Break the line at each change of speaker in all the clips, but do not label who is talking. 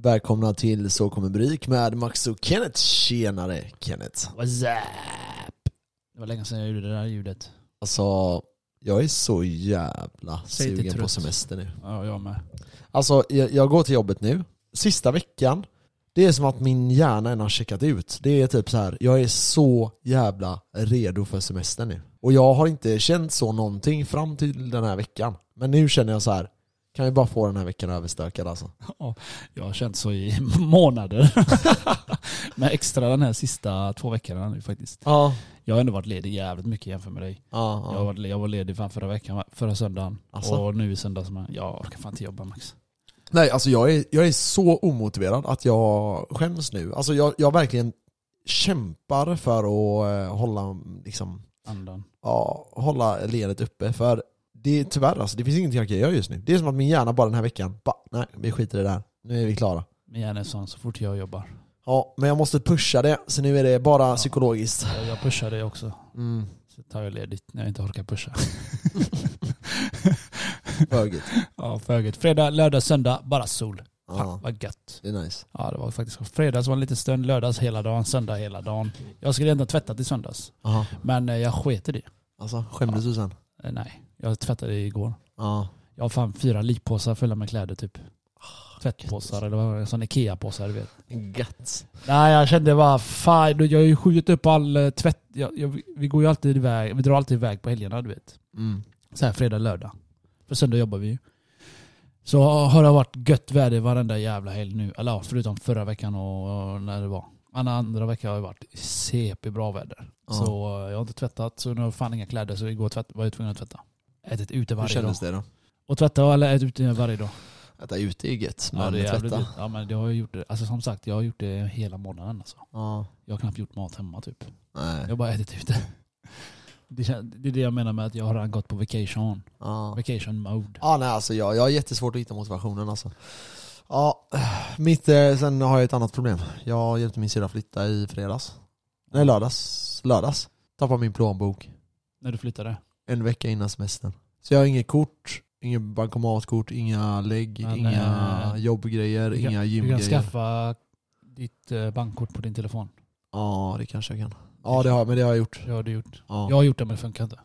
Välkomna till Så kommer Bryk med Max och Kenneth. Tjenare Kenneth.
What's up? Det var länge sedan jag gjorde det där ljudet.
Alltså, jag är så jävla
Säg till
sugen på
trött.
semester nu.
Ja, jag med.
Alltså, jag, jag går till jobbet nu. Sista veckan, det är som att min hjärna än har checkat ut. Det är typ så här, jag är så jävla redo för semester nu. Och jag har inte känt så någonting fram till den här veckan. Men nu känner jag så här, kan vi bara få den här veckan överstökad alltså?
Jag har känt så i månader. Men extra den här sista två veckorna nu faktiskt.
Ja.
Jag har ändå varit ledig jävligt mycket jämfört med dig.
ja,
Jag, var, jag var ledig fan förra veckan, va? förra söndagen.
Asså?
Och nu i söndags med. Jag orkar fan inte jobba Max.
Nej, alltså jag är, jag är så omotiverad att jag skäms nu. Alltså jag, jag verkligen kämpar för att eh, hålla, liksom,
Andan.
ja, hålla leendet uppe. För det är tyvärr alltså, det finns ingenting jag kan göra just nu. Det är som att min hjärna bara den här veckan, bara, nej vi skiter i det här. Nu är vi klara.
Men jag är sån så fort jag jobbar.
Ja, men jag måste pusha det, så nu är det bara psykologiskt.
Jag, jag pushar dig också.
Mm,
Så tar jag ledigt när jag inte orkar pusha.
högigt.
ja, föget. Fredag, lördag, söndag, bara sol. Fan,
Ja,
vad gött.
det är nice.
Ja det var faktiskt fredags var en liten stund, lördags hela dagen, söndag hela dagen. Jag skulle egentligen tvätta till söndags.
Aha.
Men eh, jag sket i det.
Alltså, skämdes du sen?
Eh, Nej, jag tvättade igår.
Ja.
Jag har fan fyra lippåsar fulla med kläder typ. Tvättpåsar eller vad var det? Sån Ikea-påsar du vet.
Gött.
Nej jag kände bara fan, du, jag har ju skjutit upp all eh, tvätt. Jag, jag, vi går ju alltid iväg, vi drar alltid iväg på helgerna du vet.
Mm.
Så här fredag, lördag. För söndag jobbar vi ju. Så har det varit gött väder varenda jävla helg nu. Eller ja, förutom förra veckan och och när det var. Alla andra veckor har det varit CP bra väder.
Ja.
Så eh, jag har inte tvättat så nu har jag fan inga kläder så igår tvätt, var jag tvungen att tvätta. Ätit ute
Hur
varje dag.
kändes det då?
Och tvätta eller ätit ute varje dag.
Äta ute är ju gött, men
det är jävligt
tvätta.
gött. Ja men det har jag gjort. det. Alltså som sagt, jag har gjort det hela månaden alltså.
Ja.
Jag har knappt gjort mat hemma typ.
Nej.
Jag har bara ätit ute. Det kän- det är det jag menar med att jag har redan gått på vacation.
Ja.
Vacation mode.
Ja, nej alltså jag, jag har jättesvårt att hitta motivationen alltså. Ja, mitt, eh, sen har jag ett annat problem. Jag hjälpte min syrra flytta i fredags. Nej, lördags. Lördags. Tappade min plånbok
När du flyttade.
en vecka innan semestern. Så jag har inget kort, inget bankomatkort, inga lägg,
Ja,
inga
nej.
jobbgrejer,
Du kan-
inga
Du kan
gymgrejer.
skaffa ditt eh, bankkort på din telefon.
Ja, det kanske jag kan. Ja, det har, men det har jag gjort.
Det har du gjort.
Ja,
Jag har gjort det men det funkar inte.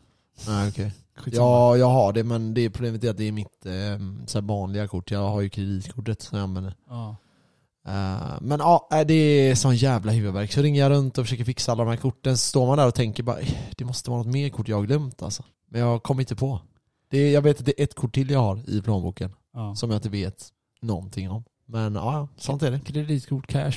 nej, okej.
Skitsamma.
ja jag har det, men det problemet är att det är mitt eh, så här vanliga kort. Jag har ju kreditkortet som jag använder.
Ja.
Eh, men ja, eh, det är sån jävla huvudvärk. Så ringer jag runt och försöker fixa alla de här korten, så står man där och tänker bara "Eh, det måste vara något mer kort jag har glömt alltså. Men jag kommer inte på. Det är, jag vet att det är ett kort till jag har i plånboken
Ja.
som jag inte vet någonting om. Men ja, ja, sånt är det.
Kreditkort, cash.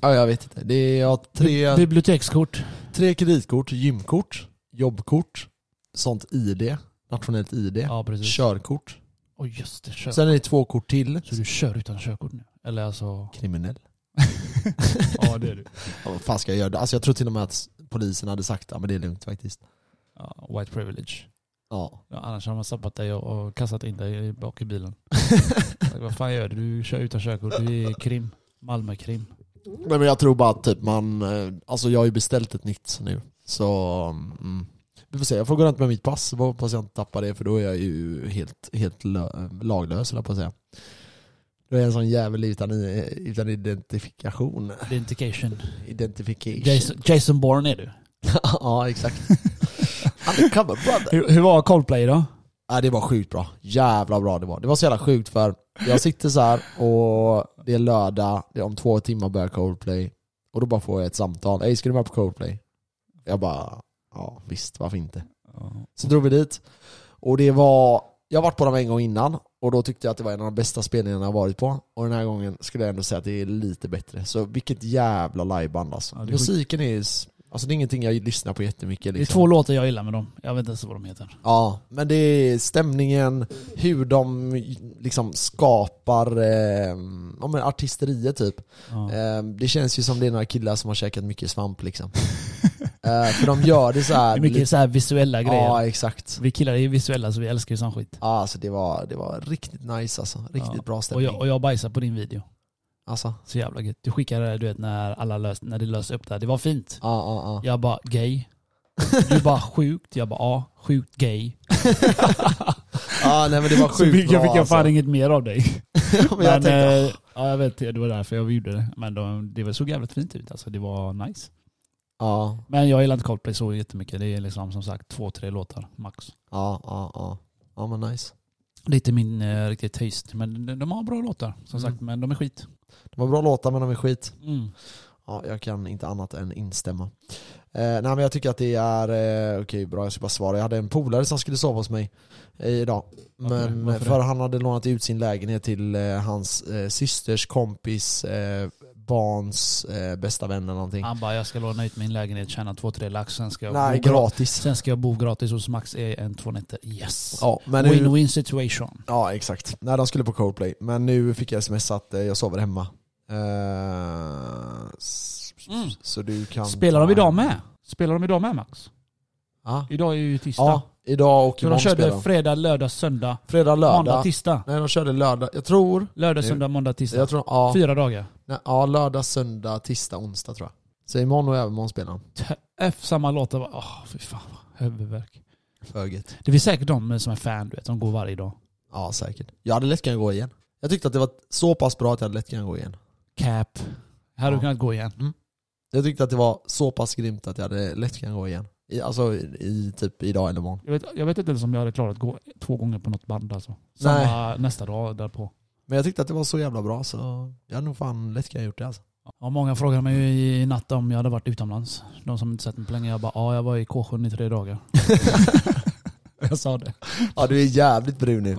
Ja, jag vet inte. Det är, jag har tre,
Bibliotekskort.
tre kreditkort, gymkort, jobbkort, sånt ID, nationellt ID,
Ja precis.
körkort.
Oj just det, kör.
Sen är det två kort till.
Så du kör utan körkort nu? Eller alltså...
Kriminell.
ja det är du.
Ja, vad fan ska jag göra? då? Alltså jag tror till och med att polisen hade sagt ja men det är lugnt faktiskt.
Ja, white privilege.
Ja.
Ja, annars har man stoppat dig och, och kastat in dig i- bak i bilen. Vad fan gör du? Du kör utan körkort. Du är krim. Malmö-krim.
Nej men jag tror bara att typ man, eh, alltså jag har ju beställt ett nytt nu. Så, mm. vi får se. Jag får gå runt med mitt pass, Jag hoppas jag inte tappar det för då är jag ju helt, helt lö- laglös höll jag på att säga. Då är jag en sån jävel utan, i- utan identifikation.
Identification.
Identification.
Jason, Jason Bourne är du.
ja exakt. Undercover brother.
Hur, hur var Coldplay idag?
Ja, Äh, det var sjukt bra. Jävla bra det var. Det var så jävla sjukt för jag sitter så här och det är lördag, det är om två timmar börjar Coldplay. Och då bara får jag ett samtal. Ey, ska du med på Coldplay? Jag bara, ja visst, varför inte? Så drog vi dit. Och det var, jag har varit på dem en gång innan och då tyckte jag att det var en av de bästa spelningarna jag har varit på. Och den här gången skulle jag ändå säga att det är lite bättre. Så vilket jävla liveband alltså.
Ja, det är
Musiken är, s- alltså det är ingenting jag lyssnar på jättemycket.
Det är
Liksom.
två låtar jag gillar med dem. Jag vet inte ens vad de heter.
Ja, men det är stämningen, hur de liksom skapar eh, ja, men artisteriet typ.
Ja.
Eh, det känns ju som det är några killar som har käkat mycket svamp liksom. eh, för de gör det så här.
Det är mycket så här visuella grejer.
ja, exakt.
Vi killar är ju visuella så vi älskar ju sån skit.
Ja, alltså det var, det var riktigt nice alltså. Riktigt
Ja.
bra
Och
stämning.
jag, och jag bajsar på din video.
Alltså,
Så jävla gött. Du skickade du vet när alla löst, när det löste upp där. Det var fint.
ja, ja, ja.
Jag bara gay. Du bara sjukt. Jag bara ja, sjukt gay.
Ja, nej men det var
Så
sjukt
fick jag,
bra
fick jag fan
alltså.
inget mer av dig.
men jag tänkte,
eh, ja, jag vet, det var därför jag gjorde det. Men de, det var- såg jävligt fint ut alltså. Det var nice.
ja,
Men jag gillar inte Coldplay så jättemycket. Det är liksom som sagt två, tre låtar max.
ja, ja, ja. Ja men nice.
Det är inte min eh, riktigt taste. Men de, de har bra låtar som
Mm.
sagt. Men de är skit. Mm.
De har bra låtar men de är skit. Ja, jag kan inte annat än instämma. Eh, nej men jag tycker att det är, eh, okej bra jag ska bara svara. Jag hade en polare som skulle sova hos mig eh, idag.
Varför det?
Men
Varför det?
för han hade lånat ut sin lägenhet till eh, hans eh, systers kompis eh, barns eh, bästa vän eller någonting.
Han bara, jag ska låna ut min lägenhet, tjäna två, tre lax. Sen ska jag,
nej,
bo, gra-
gratis.
sen ska jag bo gratis hos Max i en, två nätter. Yes!
Ja, men nu,
Win-win situation.
ja exakt. Nej de skulle på Coldplay. Men nu fick jag sms att eh, jag sover hemma. Eh, s-
Mm.
Så du kan...
Spelar de idag med? Spelar de idag med Max?
Ja,
Idag är ju tisdag.
ja idag och
Så de
imorgon
körde
spelar de.
fredag, lördag, söndag,
Fredag,
måndag,
lördag.
tisdag.
Nej de körde lördag, jag tror,
Lördag,
Nu.
söndag, måndag, tisdag.
jag tror ja,
Fyra dagar.
nej, ja, lördag, söndag, tisdag, onsdag tror jag. Så imorgon och övermorgon spelar de.
F samma låtar. Åh, fy fan vad huvudvärk.
Föget.
Det finns säkert de som är fan, du vet. De går varje dag.
Ja säkert. Jag hade lätt kunnat gå igen. Jag tyckte att det var så pass bra att jag hade lätt kunnat gå igen.
Cap. Här hade
Ja.
du kunnat gå igen.
Jag tyckte att det var så pass grymt att jag hade lätt kunnat gå igen. I, alltså i, i typ idag eller imorgon.
Jag vet, jag vet inte ens om jag hade klarat att gå två gånger på något band alltså.
Nej.
Samma nästa dag därpå.
Men jag tyckte att det var så jävla bra så jag hade nog fan lätt kunnat gjort det alltså.
Ja, många frågade mig ju i natt om jag hade varit utomlands. De som inte sett mig på länge. Jag bara, ja jag var i K7 i tre dagar. jag sa det.
Ja du är jävligt brun nu.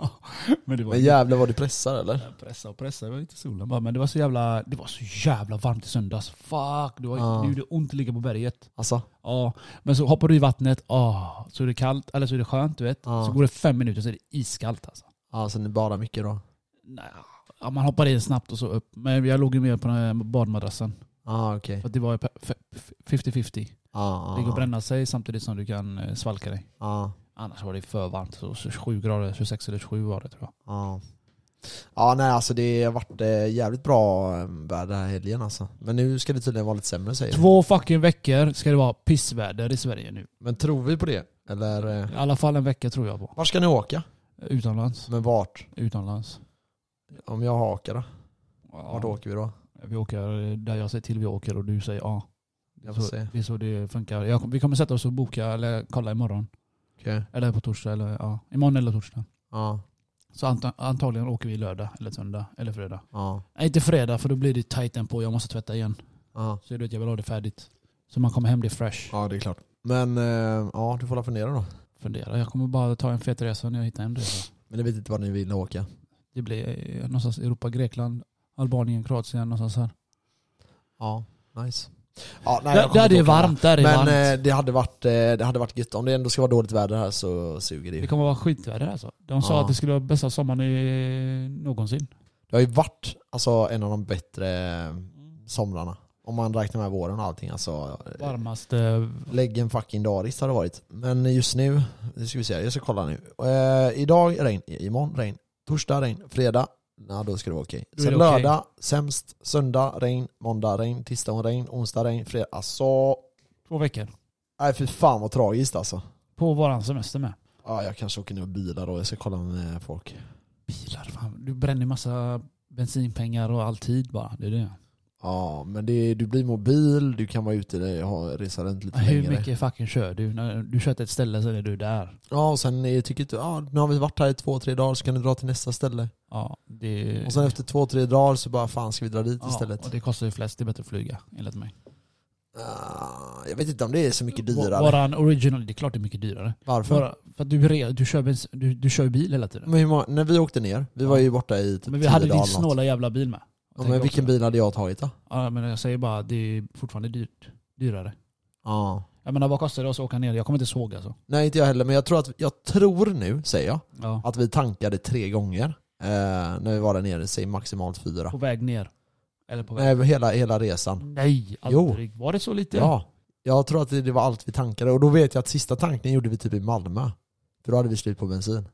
Men det
Men jävlar vad du pressar eller?
Pressa och pressa, det var inte solen bara. Men det var så jävla, det var så jävla varmt i söndags. Fuck, det, var,
Ja.
det gjorde ont att ligga på berget.
Alltså?
Ja, men så hoppar du i vattnet, ah, så är det kallt, eller så är det skönt du vet.
Ja.
Så går det fem minuter så är det iskallt alltså.
Ja så ni badar mycket då?
Nej, Ja, man hoppar in snabbt och så upp. Men jag låg ju mer på den här badmadrassen.
Ja Ah, okej. Ah,
För att det var ju pe- fe- 50-50.
Ja,
Det går att
ja,
bränna sig samtidigt som du kan eh, svalka dig.
ja.
Annars var det för varmt. Så 27 grader, 26 eller 27 var det tror jag.
Ja. Ja nej alltså det har varit eh, jävligt bra eh, väder här helgen alltså. Men nu ska det tydligen vara lite sämre säger du.
Två fucking veckor ska det vara pissväder i Sverige nu.
Men tror vi på det? Eller? eh,
I alla fall en vecka tror jag på.
Var ska ni åka?
Utomlands.
Men vart?
Utomlands.
Om jag hakar då? Vart
Ja,
åker vi då?
Vi åker eh, där jag säger till vi åker och du säger ja.
Jag får
så,
se.
Det är så det funkar. Jag, vi kommer sätta oss och boka eller kolla imorgon.
Okej.
Eller på torsdag. Eller, ja, imorgon eller torsdag.
Ja.
Så anta- antagligen åker vi lördag eller söndag eller fredag.
Ja.
Nej inte fredag för då blir det tajten på. Jag måste tvätta igen.
Ja.
Så du vet jag vill ha det färdigt. Så man kommer hem det är fresh.
Ja det är klart. Men eh, ja, du får la fundera då.
Fundera. Jag kommer bara ta en fet resa när jag hittar en resa.
Men ni vet inte vad ni vill åka.
Det blir eh, någonstans Europa, Grekland, Albanien, Kroatien någonstans här.
Ja, nice. Ja, nej, jag
där,
kommer
där
inte
det är
åka
varmt, där det
med. Men
är varmt.
eh, det, hade varit, eh, det hade varit gött. Om det ändå ska vara dåligt väder här så suger det
Det
ju.
kommer vara skitväder alltså. De sa
Ja.
att det skulle vara bästa sommaren i, någonsin.
Det har ju varit alltså, en av de bättre somrarna. Om man räknar med våren och allting. Alltså, eh,
Varmaste...
Lägg en fucking daris har det varit. Men just nu, det ska vi se, jag ska kolla nu. Eh, idag regn, I- imorgon regn, torsdag regn, fredag, nej då ska det vara okej.
Då är
Sen
det okej.
lördag, sämst, söndag regn, måndag regn, tisdag regn, onsdag regn, fredag. Alltså,
Två veckor.
nej fy fan vad tragiskt alltså.
På våran semester med.
Ja, jag kanske åker ner och bilar då, jag ska kolla med folk.
Bilar, fan. Du bränner massa bensinpengar och all tid bara. Det är det.
Ja, men det, du blir mobil, du kan vara ute och ha- resa runt lite
Hur
längre.
mycket fucking kör du? När du kör till ett ställe sen är du där.
Ja, och sen är- tycker du, ja, nu har vi varit här i två, tre dagar så kan du dra till nästa ställe.
Ja, det...
Och sen efter två, tre dagar så bara fan ska vi dra dit
ja,
istället.
Och det kostar ju flest. Det är bättre att flyga enligt mig.
Ah, jag vet inte om det är så mycket dyrare. Mm.
Våran original, det är klart det är mycket dyrare.
Varför?
För, för att du, re- du, kör, bens- du, du kör ju bil hela tiden.
Men hur många, när vi åkte ner, vi var ju borta i typ
Men vi
10
hade
dagar
din
eller något.
snåla jävla bil med.
ja, Men vilken bil hade jag tagit då?
Ja, men jag säger bara att det är fortfarande dyrt, dyrare.
Ja.
Jag menar vad kostar det oss att åka ner? Jag kommer inte ihåg alltså.
Nej inte jag heller, men jag tror, att, jag tror nu, säger jag,
Ja.
att vi tankade tre gånger eh, när vi var där nere, säg maximalt fyra.
På väg ner. Eller på väg...
Nej, hela, hela resan.
Nej,
Jo.
aldrig. Var det så lite?
Ja. Jag tror att det, det var allt vi tankade och då vet jag att sista tankningen gjorde vi typ i Malmö. För då hade vi slut på bensin.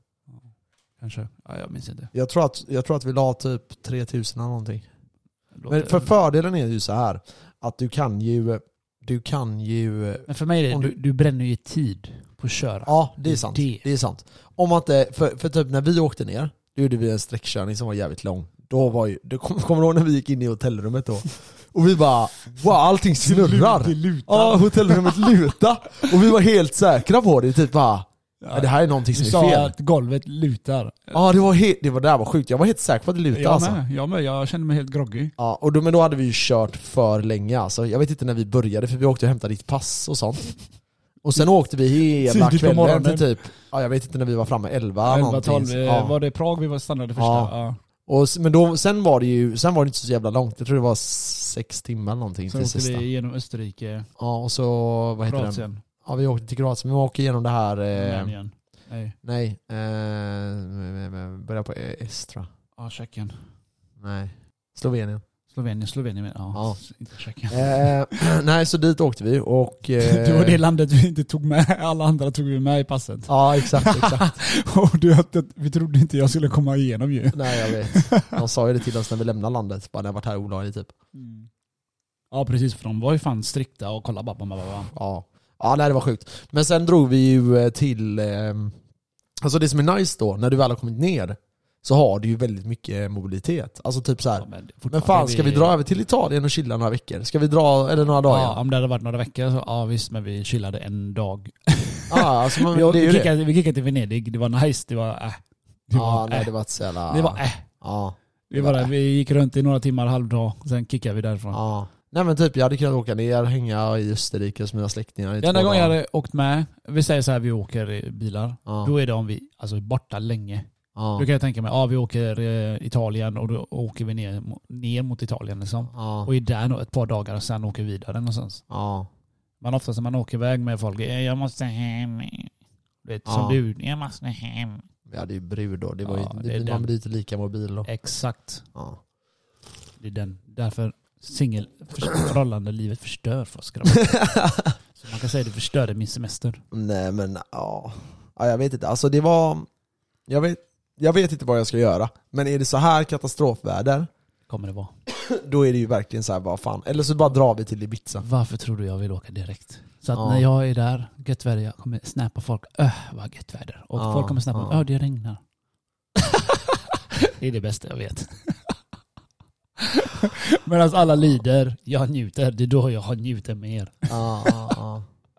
Kanske. Ja, jag minns inte.
Jag tror att, jag tror att vi la typ 3000 eller någonting.
Låter...
Men för fördelen är ju så här att du kan ju, du kan ju,
Men för mig är det,
Om
du, du bränner ju tid på att köra.
ja det är sant.
Det.
Det är sant. Om att, det- för, för typ när vi åkte ner, då gjorde vi en sträckkörning som var jävligt lång. Då var ju, det kom, kommer du ihåg när vi gick in i hotellrummet då? Och vi bara wow allting snurrar.
Det lutar.
Ja, hotellrummet luta Och vi var helt säkra på det, typ bara "Nej, det här är någonting
Du
som är
sa
fel.
att golvet lutar.
Ja det var helt, det var, det där var sjukt, jag var helt säker på att det lutade
Jag
alltså.
med, jag med. Jag känner mig helt groggy.
Ja, och då, men då hade vi ju kört för länge alltså. Jag vet inte när vi började för vi åkte och hämtade ditt pass och sånt. Och sen åkte vi hela
Tidigt på
kvällen till
morgonen.
typ, ja, jag vet inte när vi var framme, 11 någonting.
11-12,
Ja.
eh, var det Prag vi var stannade första?
Ja.
Ja.
Och, s- men då, sen var det ju, sen var det inte så jävla långt, jag tror det var sex timmar eller någonting
Sen
till
åkte
sista.
vi genom Österrike,
Ja och så, vad heter den?
Kroatien,
Ja vi åkte till Kroatien, men vi åker igenom det här, eh,
Rumänien. Nej,
nej, eh, m- m- börja på eh, Estra.
ja, Tjeckien.
Nej. Slovenien.
Slovenien, Slovenien men- ja.
Ja.
Inte Tjeckien.
Eh, nej, så dit åkte vi och... Eh,
Det var det landet vi inte tog med, alla andra tog vi med i passet.
Ja, exakt, exakt.
Och du, att- att vi trodde inte jag skulle komma igenom ju.
nej, jag vet. De sa ju det till oss när vi lämnade landet, bara när jag varit här olagligt typ.
Ja precis, för de var ju fan strikta och kollade bara, bara, bara, bara.
Ja. ja, nej det var sjukt. Men sen drog vi ju eh, till... Eh, alltså det som är nice då, när du väl har kommit ner, så har du ju väldigt mycket mobilitet. Alltså typ så
Ja,
här.
men,
Men
fortfarande
fan, ska vi dra över till Italien och chilla några veckor? Ska vi dra, eller några dagar?
Ja,
Ja,
om det hade varit några veckor så ja visst, men vi chillade en dag.
alltså, man,
vi,
det är ju
vi,
det.
kickade, vi kickade till Venedig, det var nice, det var äh. Det
Ja,
var,
nej
äh.
det var inte så jävla...
Det var äh.
Ja.
Vi,
Det var
bara,
äh.
vi gick runt i några timmar, halvdag, sen kickade vi därifrån.
Ja. Nej men typ jag hade kunnat åka ner, hänga i Österrike hos mina släktingar i
Den enda
två
gången jag
dagar.
hade åkt med, vi säger så här, vi åker i bilar.
Ja.
Då är det om vi alltså, är borta länge.
Ja.
Då kan jag tänka mig, ja vi åker eh, Italien och då åker vi ner, mo- ner mot Italien liksom.
Ja.
Och är där nog ett par dagar och sen åker vi vidare någonstans.
Ja.
Men oftast när man åker iväg med folk, eh, jag måste hem. Du vet,
Ja.
Som du, jag måste hem.
Vi hade ju brud då, det var
Ja,
ju,
det är
det,
den.
man blir inte lika mobil då.
Exakt.
Ja.
Det är den. Därför singel för- förhållandelivet förstör för oss grabbar. Så man kan säga det förstörde min semester.
Nej men ja. ja, jag vet inte. Alltså det var, jag vet, jag vet inte vad jag ska göra. Men är det så här katastrofväder,
Kommer det vara.
då är det ju verkligen så här, vad fan. Eller så bara drar vi till Ibiza.
Varför tror du jag vill åka direkt? Så att
Ja.
när jag är där, gött väder, jag kommer snäppa folk. Öh, vad gött väder. Och
Ja,
folk kommer snäppa,
ja.
öh, det regnar. det är det bästa jag vet. Medan alla lider, jag njuter. Det är då jag njuter mer.
Ja, ja,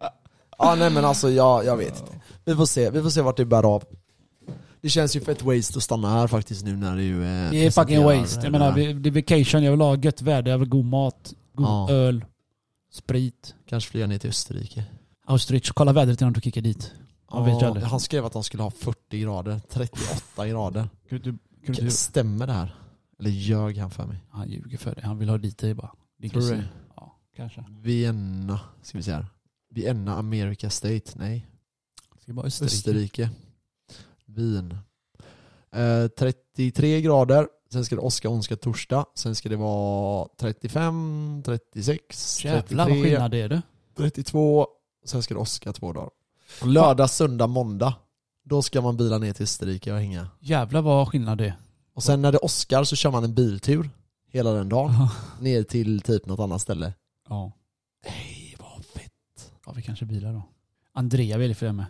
ja. ja nej men alltså jag, jag vet inte. Vi får se, vi får se vart det bär av. Det känns ju fett waste att stanna här faktiskt nu när det ju eh,
Det är fucking
presenterar
waste.
det
Jag menar,
här.
vi- det är vacation, jag vill ha gött väder, jag vill ha god mat, god
Ja.
öl, sprit.
Kanske flyga ner till Österrike.
Austrich, kolla vädret innan du kickar dit. Man vet ju aldrig.
han skrev att de skulle ha 40 grader, 38 grader.
Kan du, kan du,
Stämmer det här? Eller ljög han för mig?
han ljuger för dig, han vill ha dit dig bara. Din
Tror du
kusin.
det?
Ja, kanske.
Vienna, ska vi se här. Vienna, America State, nej.
Ska bara Österrike.
Österrike. Wien. Eh, 33 grader, sen ska det åska, onska, torsdag. Sen ska det vara 35, 36,
Jävlar vad
33,
skillnad det är du.
32. Sen ska det åska två dagar. Lördag, söndag, måndag. Då ska man bila ner till Österrike och hänga.
Jävlar vad skillnad det är.
Och sen när det åskar så kör man en biltur hela den dagen. Ner till typ något annat ställe.
ja.
Nej, vad fett.
ja, vi kanske bilar då. Andrea vill följa med.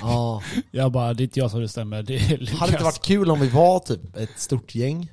Ja.
Jag bara, det är inte jag som bestämmer. Det är Lukas.
Hade det inte varit kul om vi var typ ett stort gäng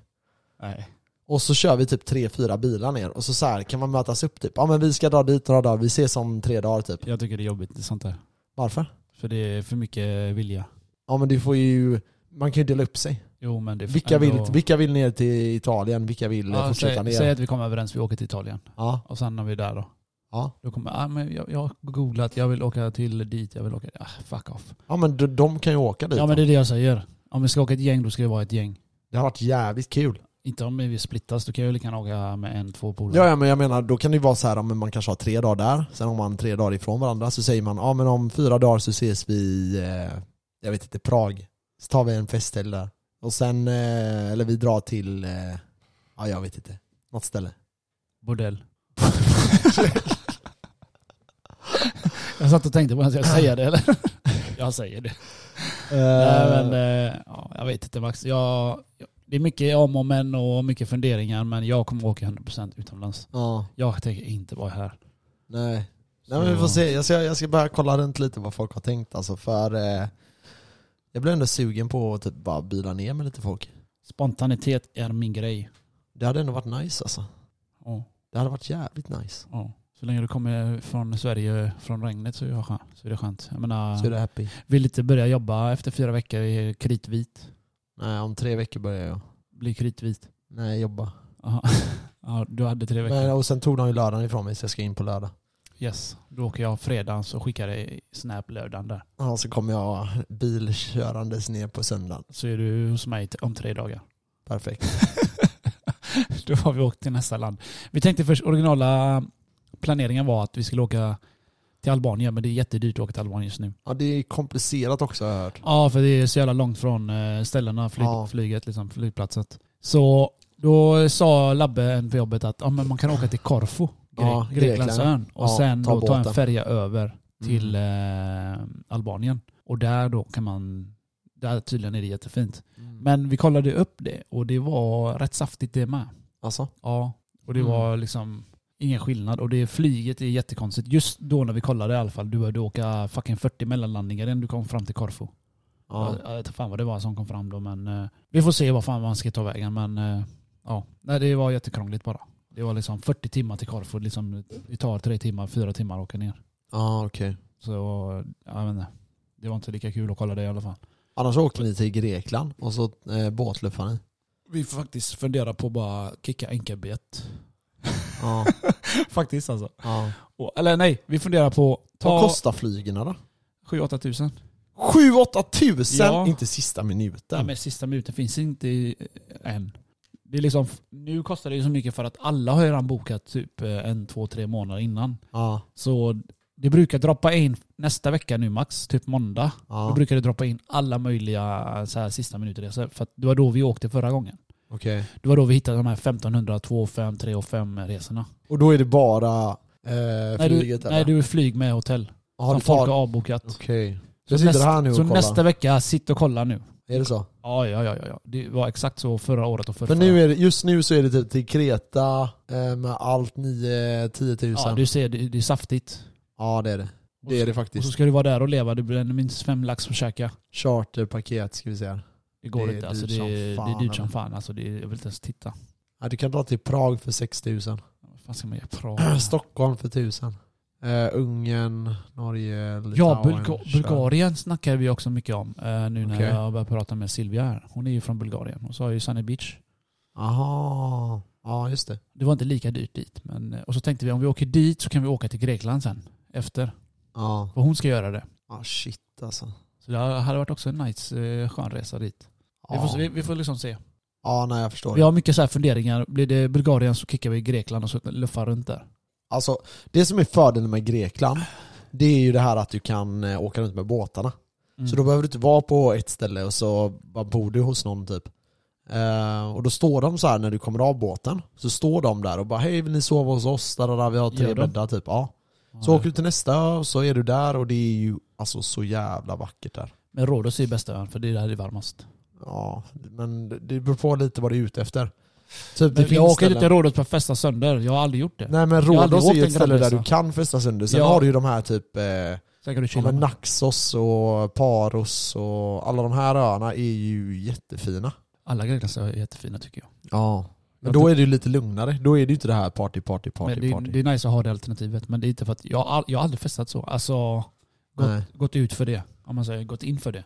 Nej.
och så kör vi typ tre, fyra bilar ner och så, så här kan man mötas upp typ. Ja men vi ska dra dit några dagar, vi ses om tre dagar typ.
Jag tycker det är jobbigt det är sånt där.
Varför?
För det är för mycket vilja.
Ja men du får ju, man kan ju dela upp sig.
Jo men det är
Vilka
ändå-
vill, vilka vill ner till Italien, vilka vill eh,
ja,
fortsätta
säg,
ner?
säg att vi kommer överens, vi åker till Italien.
Ja,
Och sen när vi är där då.
ja.
då kommer, ah, men jag, jag har googlat, jag vill åka till dit, jag vill åka... Ah, fuck off.
ja men de, de kan ju åka dit.
Ja men
det...
det är det jag säger. Om vi ska åka ett gäng då ska det vara ett gäng.
det har varit jävligt kul.
Inte om vi splittas, då kan jag ju lika gärna åka med en, två polare.
Ja, ja men jag menar, då kan det ju vara så här, ja, men man kanske har tre dagar där, sen har man tre dagar ifrån varandra, så säger man ja men om fyra dagar så ses vi i, eh, jag vet inte, Prag. Så tar vi en festhelg där. Och sen, eh, eller vi drar till, eh, ja jag vet inte, något ställe.
Bordell. jag satt och tänkte på, ska jag säga det eller? Ah. jag säger det. Nej, men, eh, ja, jag vet inte Max. Jag, jag- det är mycket om och men och mycket funderingar men jag kommer åka 100% utomlands.
ja,
Jag tänker inte vara här.
nej. Nej
Så-
men vi får se, jag ska, jag ska bara kolla runt lite vad folk har tänkt alltså för eh, jag blir ändå sugen på att typ bara bila ner med lite folk.
Spontanitet är min grej.
Det hade ändå varit nice alltså.
Ja,
Det hade varit jävligt nice.
ja. Så länge du kommer från Sverige, från regnet så är det skönt. Så är det skönt. Jag menar,
Så är du happy.
vill inte börja jobba efter fyra veckor i kritvit.
Nej, om tre veckor börjar jag.
Bli kritvit.
Nej, jobba.
Aha. Ja, du hade tre veckor.
Men, och sen tog de ju lördagen ifrån mig så jag ska in på lördag.
Yes, då åker jag fredag så skickar jag snap lördagen där.
Ja, så kommer jag bilkörandes ner på söndagen.
Så är du hos mig t- om tre dagar.
Perfekt.
Då har vi åkt till nästa land. Vi tänkte först, originala planeringen var att vi skulle åka till Albanien men det är jättedyrt att åka till Albanien just nu.
Ja, det är komplicerat också har jag hört.
Ja, för det är så jävla långt från eh, ställena, flyg,
Ja.
flyget, liksom, flygplatset. Så då sa Labbe en på jobbet att ja, men man kan åka till Korfu, Gre-
Ja,
Greklandsön, och
Ja,
sen
ta
då ta en
båten.
färja över Mm. till
Mm.
eh, Albanien. Och där då kan man, där tydligen är det jättefint.
Mm.
Men vi kollade upp det och det var rätt saftigt det med.
Alltså?
Ja, och det
Mm.
var liksom ingen skillnad. Och det flyget är jättekonstigt. Just då när vi kollade i alla fall, du behövde åka fucking 40 mellanlandningar innan du kom fram till Korfu.
Ja.
Jag, jag vet fan vad det var som kom fram då men eh, vi får se vad fan man ska ta vägen men eh, ja, nej det var jättekrångligt bara. Det var liksom 40 timmar till Korfu, liksom, det tar tre timmar, fyra timmar att åka ner.
Ja, okej.
Så jag vet inte, det var inte lika kul att kolla det i alla fall.
Annars åkte ni till Grekland och så eh, båtluffade ni.
Vi får faktiskt fundera på att bara kicka enkabet.
Ja,
faktiskt alltså.
ja.
Och, eller nej, vi funderar på att
Vad
ta
kostar flygerna då?
7-8 tusen.
7-8 tusen!
Ja.
Inte sista
Ja,
minuten.
men sista minuten finns inte i- eh, än. Det är liksom, nu kostar det ju så mycket för att alla har ju redan bokat typ eh, en, två, tre månader innan.
Ja,
Så det brukar droppa in nästa vecka nu max, typ måndag. Då
ja.
brukar det droppa in alla möjliga eh, så här, sista minuterresor. För att det var då vi åkte förra gången.
okej.
Det var då vi hittade de här 1500, 2 5, 3 och 5 resorna.
Och då är det bara eh,
Nej du,
flyget eller?
nej, du är flyg med hotell.
Har
som
du tar...
folk har
Okej.
avbokat.
Jag sitter
nästa-
här nu och
Så
kollar.
nästa vecka, sitt och kolla nu.
Är det så?
Ja, ja, ja, ja, ja. Det var exakt så förra året och förra.
Men nu är det, just nu så är det typ till Kreta eh, med allt 9-10 tusen.
Ja,
Ja,
du ser, det, det är saftigt.
det är det.
Och
Det är
så-
det
Och så
faktiskt.
ska du vara där och leva, det blir minst fem lax att käka.
Charterpaket ska vi säga.
Det går
Det är
inte. Alltså,
dyrt
det,
som
är- det
fan,
är dyrt som
eller?
fan. Alltså, det, är- jag vill inte ens titta.
Ja, du kan dra till Prag för 6 tusen.
Vad fan ska man göra? Prag?
Stockholm för 1000. Eh, Ungern, Norge, Litauen.
Ja, Bulga
kör.
Bulgarien snackar vi också mycket om eh, nu när
Okej.
jag börjar prata med Silvia här. Hon är ju från Bulgarien. Och så har ju Sunny Beach.
Aha. Ja, just det.
Det var inte lika dyrt dit. Men, eh, och så tänkte vi om vi åker dit så kan vi åka till Grekland sen. Efter.
Ja.
För hon ska göra det.
Ah, shit alltså.
Så det hade varit också en nice eh, skön resa dit. Vi,
Ja.
får, vi, vi får liksom se.
Ja, nej jag förstår.
Vi
det.
har mycket så här funderingar. Blir det Bulgarien så kickar vi Grekland och så luffar runt där.
Alltså, det som är fördelen med Grekland, det är ju det här att du kan eh, åka runt med båtarna.
Mm.
Så då behöver du inte vara på ett ställe och så bara bor du hos någon typ. Eh, och då står de så här när du kommer av båten, så står de där och bara hej vill ni sova hos oss? Där, där, där, vi har tre
Gör de?
bäddar typ. Ja.
Ja,
Så åker du till nästa ö och så är du där och det är ju alltså så jävla vackert där.
Men Rhodos är ju bästa ön för det är där det är varmast.
Ja, men det beror på lite vad du är ute efter. Typ, det
Men
finns
jag åker inte
ställen-
till Rhodos för att festa sönder. Jag har aldrig gjort det.
Nej men
har aldrig
Rhodos är
åkt
ju
en
ett ställe där
grabbresa.
du kan festa sönder. Sen
Ja.
har du ju de här typ eh,
Sen kan du
Ja,
chilla.
men Naxos och Paros och alla de här öarna är ju jättefina.
Alla Greklands är jättefina tycker jag.
Ja. Men
Jag
då
tror-
är det ju lite lugnare. Då är det ju inte det här party, party,
Men
party,
det,
party.
det är nice att ha det alternativet. Men det är inte för att jag, har all, jag har aldrig festat så. Alltså gått,
Nej.
gått ut för det. Om man säger gått in för det.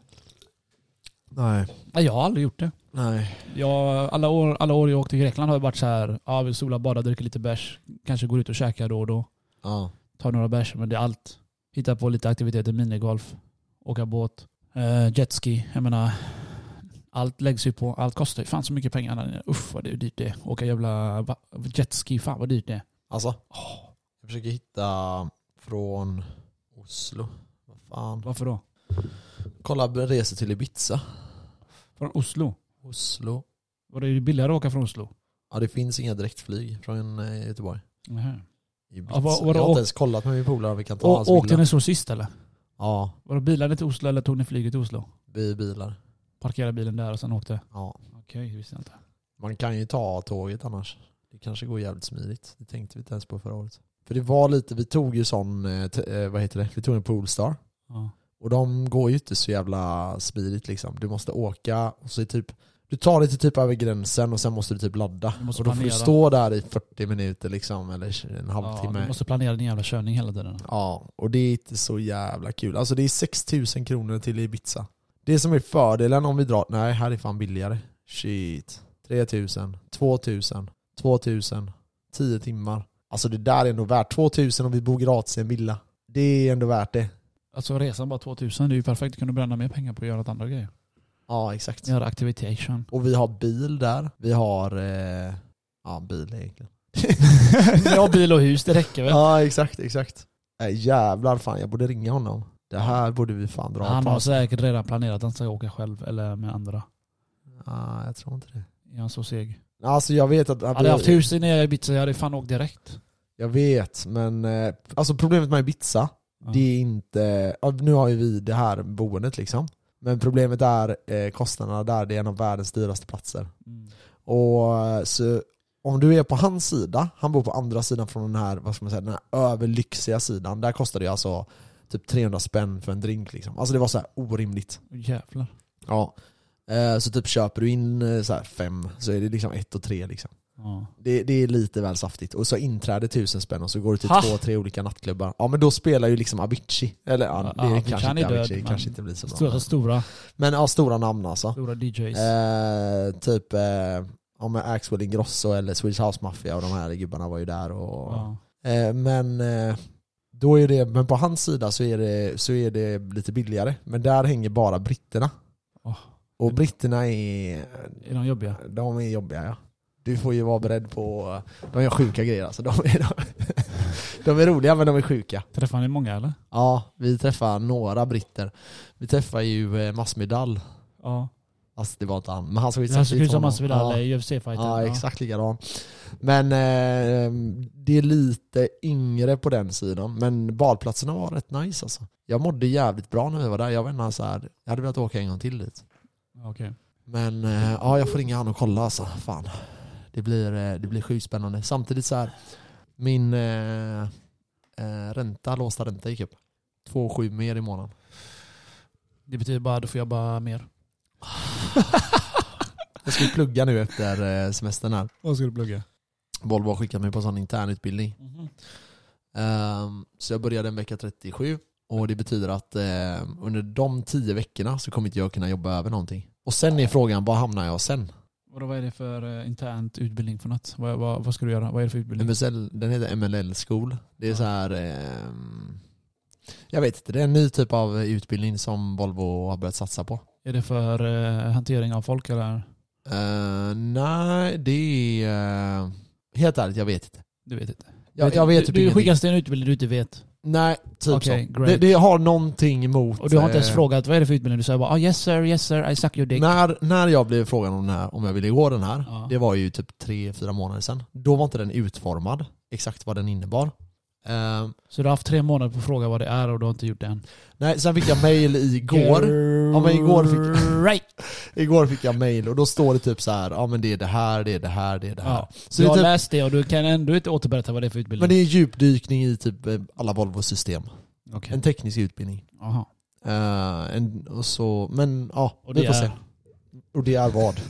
Nej.
Nej, jag har aldrig gjort det.
Nej.
Jag, alla, år, alla år jag åkt till Grekland har jag varit så här. Ja, vi solar, badar, dricker lite bärs. Kanske går ut och käkar då och då.
Ja.
Tar några bärs, men det är allt. Hitta på lite aktiviteter, minigolf, åka båt, eh, jetski. Jag menar, allt läggs ju på. Allt kostar ju fan så mycket pengar där nere. Uff vad det är dyrt det är. Åka jävla va- jetski, fan vad dyrt det är.
Alltså. Jag försöker hitta från Oslo. Vad fan.
Varför då?
Kolla resor till Ibiza.
Från Oslo?
Oslo.
Var det ju billigare att åka från Oslo?
Ja det finns inga direktflyg från eh, Göteborg. Ibiza.
Ja, vad- vadå?
jag har inte ens kollat med min polare om vi kan ta hans
Och, åkte
villa.
ni så sist eller?
Ja,
Var det bilarna till Oslo eller tog ni flyget till Oslo?
vi bilar.
Parkerade bilen där och sen åkte?
Ja.
Okej, det visste jag inte.
Man kan ju ta tåget annars. Det kanske går jävligt smidigt. Det tänkte vi inte ens på förra året. För det var lite, vi tog ju sån, eh, t- eh, vad heter det, vi tog en Polestar.
Ja.
Och de går ju inte så jävla smidigt liksom. Du måste åka och så är typ, Du tar lite typ över gränsen och sen måste du typ ladda.
Du måste
och då får du
planera.
stå där i 40 minuter liksom, eller en
Ja,
halvtimme.
du måste planera din jävla körning hela tiden.
Ja, och det är inte så jävla kul. Alltså det är 6000 kronor till Ibiza. Det som är fördelen om vi drar, nej här är fan billigare. Shit. 3000, 2000, 2000, 10 timmar. Alltså det där är ändå värt 2000 om vi bor gratis i en villa. Det är ändå värt det.
Alltså resan bara 2000, det är ju perfekt. Du kunde bränna mer pengar på att göra något andra grejer.
Ja, exakt.
Göra activation.
Och vi har bil där. Vi har, eh, ja bil egentligen.
Ja, bil och hus, det räcker väl?
Ja, exakt, exakt. Nej jävlar fan, jag borde ringa honom. Det här borde vi fan dra
Han
på.
har säkert redan planerat att han ska åka själv eller med andra.
Ja, jag tror inte det.
Är han så seg?
Alltså jag vet att...
Hade jag haft hus nere i Ibiza, jag hade fan åkt direkt.
Jag vet, men eh, alltså problemet med Ibiza,
Ja.
det är inte... ja, Nu har ju vi det här boendet liksom. Men problemet är eh, kostnaderna där, det är en av världens dyraste platser.
Mm.
Och eh, så om du är på hans sida, han bor på andra sidan från den här, vad ska man säga, den här överlyxiga sidan. Där kostade det alltså typ 300 spänn för en drink liksom. Alltså det var så här orimligt.
Jävlar.
Ja. Eh, Så typ köper du in eh, så här fem, så är det liksom ett och tre liksom.
Ja.
Det, det är lite väl saftigt. Och så inträde tusen spänn och så går du till
Ha!
två, tre olika nattklubbar. Ja men då spelar ju liksom Avicii. Eller ja,
Ja,
det är
Avicii,
kanske
han är
inte
död,
Avicii,
men-
kanske inte blir så bra.
Stora, stora,
Men ja, stora namn alltså.
stora DJs.
Eh, typ eh, ja, men Axwell Ingrosso eller Swedish House Mafia och de här gubbarna var ju där och...
ja.
Eh, men eh, då är det, men på hans sida så är det, så är det lite billigare. Men där hänger bara britterna.
Åh.
Och britterna är,
Är de jobbiga?
de är jobbiga ja. Du får ju vara beredd på, de gör sjuka grejer alltså. De är, de, är roliga men de är sjuka.
Träffar ni många eller?
Ja, vi träffar några britter. Vi träffar ju eh, Masvidal.
Ja.
Alltså det var inte han, men han såg ut
Det här såg ut som
honom.
Masvidal,
Ja.
UFC-fighter.
Ja, exakt likadan. Men eh, det är lite yngre på den sidan. Men badplatserna var rätt nice alltså. Jag mådde jävligt bra när vi var där. Jag, var ändå så här, jag hade velat åka en gång till dit.
Okej.
Men eh, ja, jag får ringa han och kolla alltså. Fan. Det blir, eh, det blir sjukt spännande. Samtidigt så här, min eh, eh, ränta, låsta ränta gick upp. 2,7 mer i månaden.
Det betyder bara att du får jobba mer.
Jag ska ju plugga nu efter eh, semestern här.
Vad ska du plugga?
Volvo har skickat mig på en sån internutbildning.
Mhm.
Ehm, Så jag började en vecka 37 och det betyder att ehm, under de tio veckorna så kommer inte jag kunna jobba över någonting. Och sen är frågan, var hamnar jag sen?
Vadå, vad är det för eh, internt utbildning för något? Vad, vad, vad ska du göra? Vad är det för utbildning?
MSL, den heter MLL School. Det är
Ja.
så här... ehm, Jag vet inte, det är en ny typ av utbildning som Volvo har börjat satsa på.
Är det för eh, hantering av folk eller?
Eh, nej, det är... eh, Helt ärligt, jag vet inte.
Du vet inte.
Jag, jag vet
du,
typ
du
ingenting.
skickas till en utbildning du inte vet.
Nej, typ
Okej,
så.
great.
Det, det har någonting emot...
Och du har inte ens
eh,
frågat vad är det för utbildning. Du säger bara ah, yes sir, yes sir, I suck your dick.
När, när jag blev frågan om, den här, om jag ville gå den här,
Ja.
det var ju typ tre, fyra månader sedan. Då var inte den utformad, exakt vad den innebar. Ehm,
Så du har haft tre månader på att fråga vad det är och du har inte gjort det än.
nej, sen fick jag mail igår. Ja, men igår fick-
Right.
igår fick jag mail och då står det typ så här, ja men det är det här, det är det här, det är det här.
Ja.
Så
jag har
det är typ,
läst det och du kan ändå inte återberätta vad det är för utbildning.
men det är djupdykning i typ eh, alla Volvo-system.
Okej.
En teknisk utbildning.
Jaha.
Eh, en, och så, men ja,
Och
vi
det
får
är-
se. Och det är vad?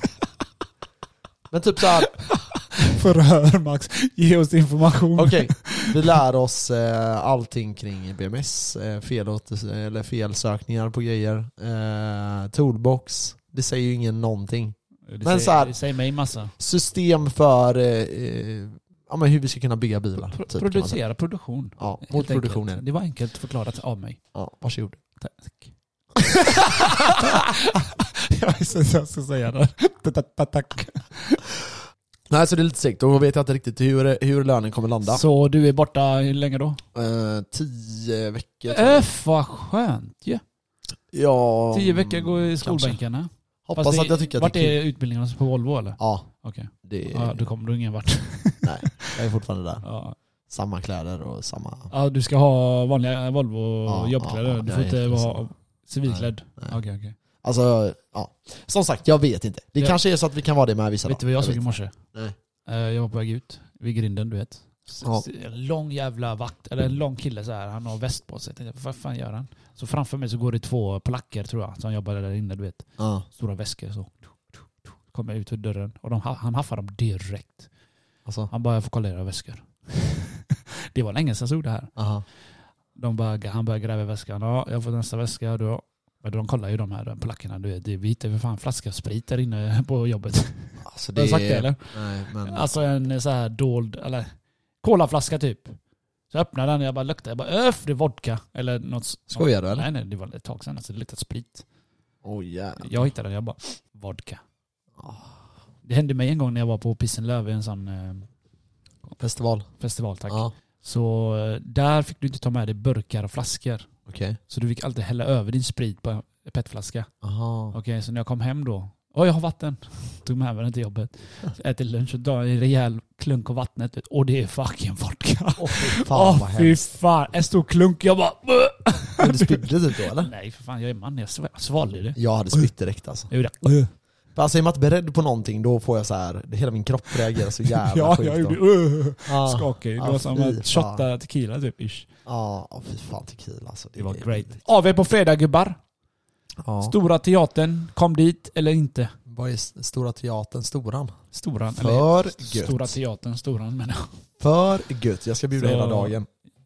men typ så här,
Förhör Max. Ge oss information.
Okej, vi lär oss eh, allting kring BMS, eh, felåter- eller felsökningar på grejer, eh, toolbox, det säger ju ingen någonting.
Det,
Men
säger,
så här-
det säger mig massa.
System för eh, eh, ja, men hur vi ska kunna bygga bilar.
Pro-
typ, kan man säga.
producera produktion.
Ja,
Helt
mot produktionen.
Enkelt. Det var enkelt förklarat av mig.
Ja, varsågod.
Tack.
jag visste inte vad jag skulle säga det. Tack.
Nej, så det är lite segt. Då vet jag inte riktigt hur, hur lönen kommer landa.
Så du är borta hur länge då?
Eh, tio veckor. tror jag.
Öff vad skönt ju.
Ja, mm,
Tio veckor går i
kanske.
skolbänkarna.
Hoppas
Fast det-
att jag tycker att
Vart
det är kul. Eh.
är utbildningarna på Volvo eller?
Ja,
Okej.
det är,
Ja, du kommer du ingen vart.
jag är fortfarande där.
Ja.
Samma kläder och samma...
Ja, du ska ha vanliga
Ja,
Volvo jobbkläder.
ja, ja,
du får
jag är
inte
helt
vara civilklädd.
Nej,
Okej
nej.
okej.
Alltså, ja. Som sagt, jag vet inte. Det
Ja.
kanske är så att vi kan vara det med vissa
Vet du
dagar.
vad jag
vet
såg i
inte.
morse?
Nej.
Eh, Jag var på väg ut vid grinden, du vet. S-
Ja.
s- En lång jävla vakt, eller en lång kille så här. Han har väst på sig. Jag tänkte, vad fan gör han? Så framför mig så går det två polacker tror jag, som jobbar där inne, du vet.
Ja.
Stora väskor så. Kom jag ut ur dörren och de, ha- han haffade dem direkt.
Alltså,
Han bara, jag får kolla era väskor. det var länge sedan jag såg det här.
aha.
De bara, han började gräva i väskan. Ja, jag får nästa väska. Då. Men de kollar ju de här plackerna. Du vet, det är vita för fan flaska sprit där inne på jobbet.
alltså
Har
det
jag sagt det eller?
Nej men...
Alltså en så här dold, eller colaflaska typ. Så jag öppnade den och jag bara luktade. Jag bara öff, det är vodka. Eller något. s-
Skojar du eller?
Nej nej, det var ett tag sedan. Alltså det luktade sprit.
Oh jävlar.
Jag hittade den jag bara, vodka.
Ah.
Det hände mig en gång när jag var på Pissenlöv i en sån eh,
Festival.
festival tack.
Ja,
Så eh, där fick du inte ta med dig burkar och flaskor.
okej.
Så du fick alltid hälla över din sprit på en petflaska.
Aha.
Okej, så när jag kom hem då. Åh, jag har vatten. Tog med mig den till jobbet. Äter lunch och drar en rejäl klunk av vattnet. Och det är fucking vodka.
Åh fy fan
Åh
vad
fy
hemskt.
fan. En stor klunk. Jag bara... "Buh!"
Men Du spydde typ då eller?
Nej för fan, jag är man. Jag sv- svalde det.
Jag hade spytt direkt alltså.
Jag gjorde
För alltså är man inte beredd på någonting då får jag så här, hela min kropp reagerar så jävla
Ja,
sjukt.
jag
då.
gjorde... Uh,
Ja.
skakade. Det
Ah,
var som
fy
att shotta tequila typ. Ish.
Ja, åh, fy fan tequila alltså.
Det var great. AV på fredag gubbar.
Ja.
Stora teatern. Kom dit eller inte.
Vad är s- Stora Teatern Storan?
Storan. Eller,
För gött.
stora teatern. Storan menar jag.
För gött. Jag ska bjuda
Så-
hela dagen.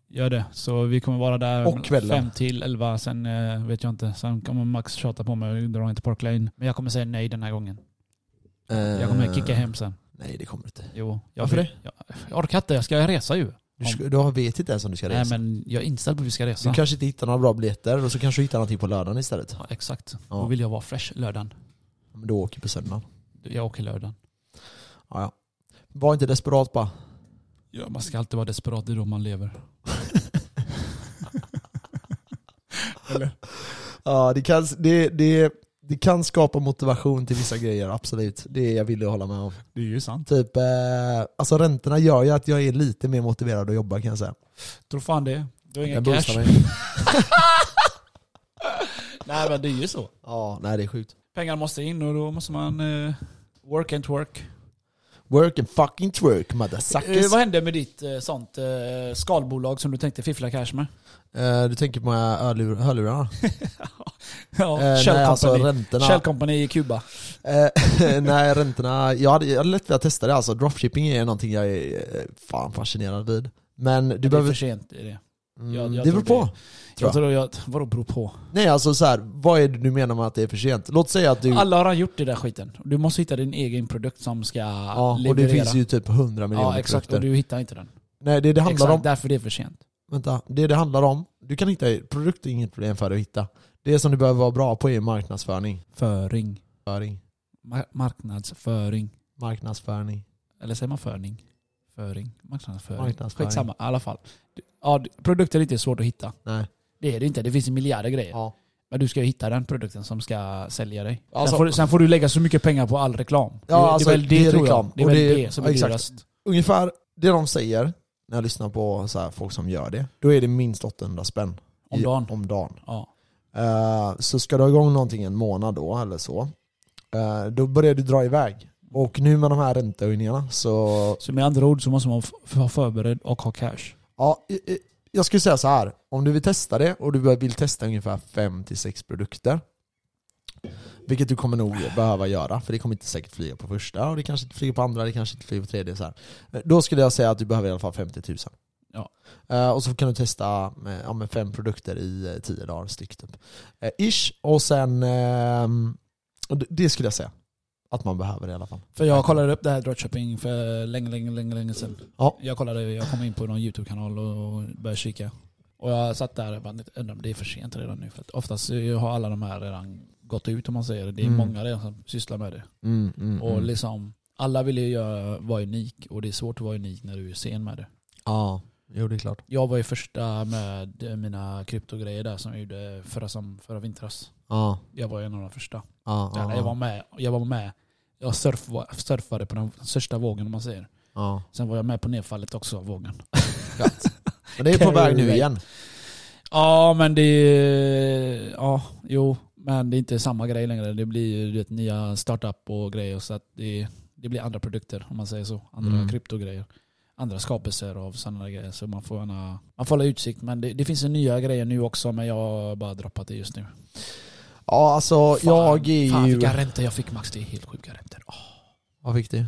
Gör det. Så vi kommer vara där
Och kvällen.
fem till elva. Sen eh, vet jag inte. Sen kommer Max tjata på mig och dra inte Park Lane. Men jag kommer säga nej den här gången. Jag kommer
Eh.
kicka hem sen.
Nej det kommer du inte.
Jo. Jag
Varför
vill- Jag, jag orkar inte. Jag ska resa ju.
Du,
Om-
ska, du har- vet inte ens om du ska
Nej
resa.
men jag är inställd på att vi ska resa.
du kanske inte hittar några bra biljetter och så kanske du hittar någonting på lördagen istället.
Ja, exakt.
Ja.
Då vill jag vara fresh lördagen.
Men då åker vi på söndagen.
Jag åker lördagen.
Ja, ja. Var inte desperat bara.
Ja, man ska alltid vara desperat. Det är då man lever.
Ja, det kan, det, det, det kan skapa motivation till vissa grejer, absolut. Det är jag villig att hålla med om.
Det är ju sant.
Typ, eh, alltså räntorna gör ju att jag är lite mer motiverad att jobba kan jag säga.
Tror fan det. Du
Den
har ingen
boostar
cash.
mig.
Nej men det är ju så.
Ja, nej det är sjukt.
Pengar måste in och då måste man eh, work and work.
Work and fucking twerk motherfuckers.
Eh, vad hände med ditt eh, sånt eh, skalbolag som du tänkte fiffla cash med?
Eh, du tänker på de här hörlur- hörlurarna?
ja,
Eh,
Shell,
nej, alltså
Company.
räntorna.
Shell Company i Kuba.
Eh, nej, räntorna. Jag hade, jag hade lätt velat testa det alltså. Dropshipping är någonting jag är eh, fan fascinerad vid. Men du
Du behöver... Det är för
behöver...
sent. i Det,
Mm,
jag- jag
det beror
tror
på.
det-
Tror
jag tror jag, vadå beror på?
Nej alltså så här, vad är det du menar med att det är för sent? Låt säga att du...
Alla har gjort det där skiten. Du måste hitta din egen produkt som ska
ja,
leverera.
och det finns ju typ 100 miljoner
Ja exakt,
produkter.
och du hittar inte den.
Nej, det det handlar
Exakt,
om...
därför det är för sent.
Vänta, det det handlar om... Du kan hitta... Produkt är inget problem för dig att hitta. Det som du behöver vara bra på är marknadsföring.
Föring.
Föring.
Ma- marknadsföring.
Marknadsföring.
Eller säger man förning? Föring? Marknadsföring?
Marknadsföring.
Skitsamma, i alla fall. Du- Ja, du- produkter är inte svårt att hitta.
Nej.
Det är det inte. Det finns en miljarder grejer.
Ja.
Men du ska ju hitta den produkten som ska sälja dig.
Alltså-
sen, får, du- sen får du lägga så mycket pengar på all reklam. det,
alltså,
det är väl det,
det är
tror
reklam.
jag. Det är
Och
väl
det-
det, som
ja,
är
exakt.
dyrast.
Ungefär det de säger när jag lyssnar på så här, folk som gör det. Då är det minst 800 spänn.
Om
i-
dagen.
Om dagen.
Ja.
Eh, så ska du ha igång någonting en månad då eller så. eh, då börjar du dra iväg. Och nu med de här räntehöjningarna så
Så med andra ord så måste man f- vara förberedd och ha cash.
Ja, i- i- jag skulle säga så här. Om du vill testa det och du vill testa ungefär 5-6 produkter. Vilket du kommer nog behöva göra, för det kommer inte säkert flyga på första och det kanske inte flyger på andra, det kanske inte flyger på tredje. Så här. Då skulle jag säga att du behöver i alla fall 50 000.
Ja.
Eh, och så kan du testa med, ja, med fem produkter i eh, 10 dagar styck. Typ. Eh, ish. Och sen, ehm, och det- det skulle jag säga. Att man behöver det i alla fall.
För jag kollade upp det här dropshipping för länge, länge, länge, länge sedan.
Ja.
Jag kollade, jag kom in på någon YouTube-kanal och började kika. Och jag satt där och bara, undrar om det är för sent redan nu. För att oftast har alla de här redan gått ut om man säger det. Det är
Mm.
många redan som sysslar med det.
Mm, mm,
Och
mm.
liksom, alla vill ju göra, vara unik och det är svårt att vara unik när du är sen med det.
Ja, jo det är klart.
Jag var ju första med mina kryptogrejer där som jag gjorde förra, som, förra vintras.
Ja,
Jag var ju en av de första.
ja, ja,
Jag var med. Jag, var med. jag surf, surfade på den största vågen om man säger.
ja.
Sen var jag med på nedfallet också av vågen.
Men det är på
Carry
väg nu
rate.
igen.
Ja men det är, ja jo men det är inte samma grej längre. Det blir ju du vet, nya startup och grejer så att det, det blir andra produkter om man säger så. Andra
Mm.
kryptogrejer. Andra skapelser av sådana grejer. Så man får, gärna, man får hålla utsikt. Men det, det finns ju nya grejer nu också men jag har bara droppat det just nu.
Ja alltså jag är
fan
ju...
vilka räntor jag fick Max, det är helt sjuka räntor. Oh,
Vad fick du?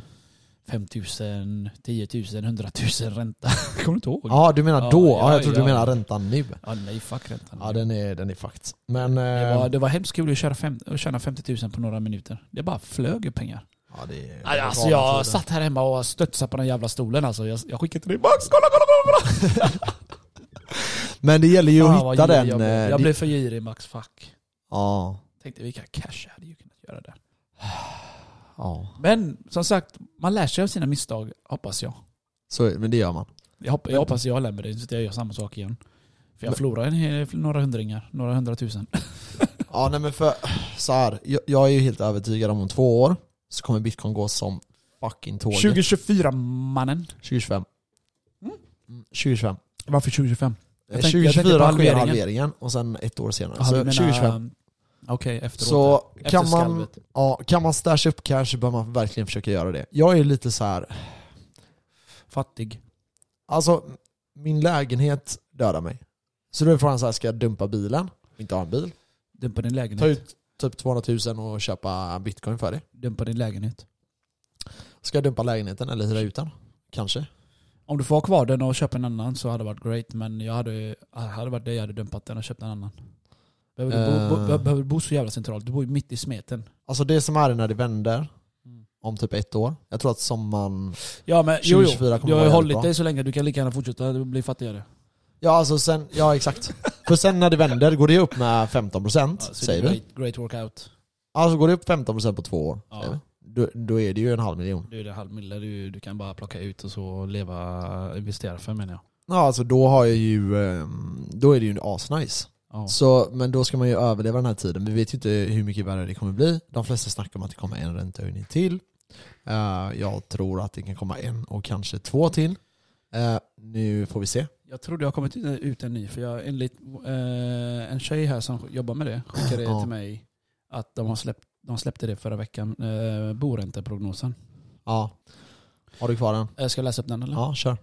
5 000, 10 000, 100 000 ränta. Kommer du inte ihåg?
Ja du menar
Ja,
då?
ja,
Ja, jag trodde
ja.
du menar räntan nu.
Ja, nej fuck räntan.
Ja den är, den är fucked. Men...
det,
eh,
var, det var hemskt kul att köra fem, att tjäna 50 000 på några minuter. Det bara flög i pengar.
Ja, det är
Nej, Alltså
galna
jag
tider.
satt här hemma och studsade på den jävla stolen alltså. Jag, jag skickade till dig Max, kolla, kolla, kolla! kolla.
Men det gäller ju
Fan,
att
vad
hitta den...
girig Jag, blev.
eh,
jag
di-
blev för girig Max, fuck.
Ja.
Tänkte vilka cash jag hade ju kunnat göra där.
Ja.
Men som sagt, man lär sig av sina misstag, hoppas jag.
Så, men det gör man.
Jag, hopp, jag hoppas jag lär mig det, så att jag gör samma sak igen. För jag
Men-
förlorade en hel, några hundringar, några hundratusen.
Ja nej men för så här, jag, jag är ju helt övertygad om om två år så kommer bitcoin gå som fucking tåget.
2024 mannen.
2025.
Mm.
Mm, 2025.
Varför 2025?
Eh,
Jag tänkte- jag tänkte på
2024 sker
halveringen.
halveringen och sen ett år senare. så 2025.
Okej, efteråt.
Alltså, Så
Efter
kan man,
skalvet. typ.
ja, kan man stasha upp cash så bör man verkligen försöka göra det. Jag är lite så här,
Fattig.
Alltså, min lägenhet dödar mig. Så då är frågan så här, ska jag dumpa bilen? Inte ha en bil.
Dumpa din lägenhet.
Ta ut typ 200 000 och köpa bitcoin för det.
Dumpa din lägenhet.
Ska jag dumpa lägenheten eller hyra ut den? Kanske.
Om du får ha kvar den och köpa en annan så hade det varit great. Men jag hade, hade varit det jag hade dumpat den och köpt en annan. Behöver du bo,
Eh.
bo, behöver du bo så jävla centralt? Du bor ju mitt i smeten.
Alltså det som är när det vänder
Mm.
om typ ett år. Jag tror att sommaren...
Ja men jo, jo.
2024 kommer
Du
vara
har ju
jävligt
hållit
bra.
dig så länge, du kan lika gärna fortsätta bli fattigare.
Ja alltså sen, ja exakt. För sen när det vänder går det upp med 15%
Ja, så
säger
det är
vi.
great, great workout.
Alltså går det upp 15% på två år,
Ja.
säger vi. Då, då är det ju en halv miljon.
Du är det halv mille, du, du kan bara plocka ut och så leva, investera för menar jag.
Ja alltså då har jag ju, ehm, då är det ju asnice.
Ja.
Så, men då ska man ju överleva den här tiden. Vi vet ju inte hur mycket värre det kommer bli. De flesta snackar om att det kommer en räntehöjning till. Eh, jag tror att det kan komma en och kanske två till. Eh, nu får vi se.
Jag tror det har kommit ut en ny, för jag, enligt eh, en tjej här som jobbar med det skickade
Ja.
till mig att de, har släppt, de släppte det förra veckan, eh, boränteprognosen.
Ja. Har du kvar den?
Jag ska läsa upp den eller?
Ja, kör.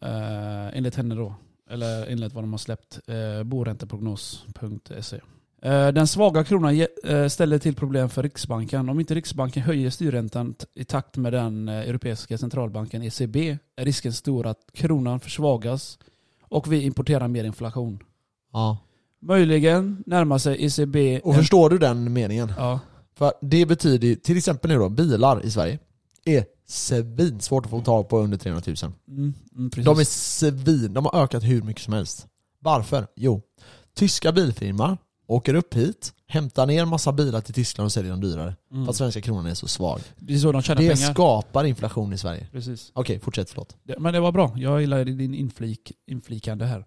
Eh, enligt henne då. Eller enligt vad de har släppt. Eh, boränteprognos.se. Eh, den svaga kronan ge, eh, ställer till problem för Riksbanken. Om inte Riksbanken höjer styrräntan t- i takt med den eh, Europeiska centralbanken ECB är risken stor att kronan försvagas och vi importerar mer inflation.
Ja.
Möjligen närmar sig E ECB...
Och förstår du den meningen?
ja,
För det betyder ju, till exempel nu då, bilar i Sverige är svinsvårt att få tag på under 300 000.
mm, mm, precis.
De är svin, de har ökat hur mycket som helst. Varför? Jo, tyska bilfirmor åker upp hit, hämtar ner massa bilar till Tyskland och säljer dem dyrare.
mm.
För att svenska kronan är så svag.
Det är så de tjänar
Det
pengar.
skapar inflation i Sverige.
Precis.
Okej, fortsätt, förlåt.
Det- Men det var bra. Jag gillar din inflik, inflikande här.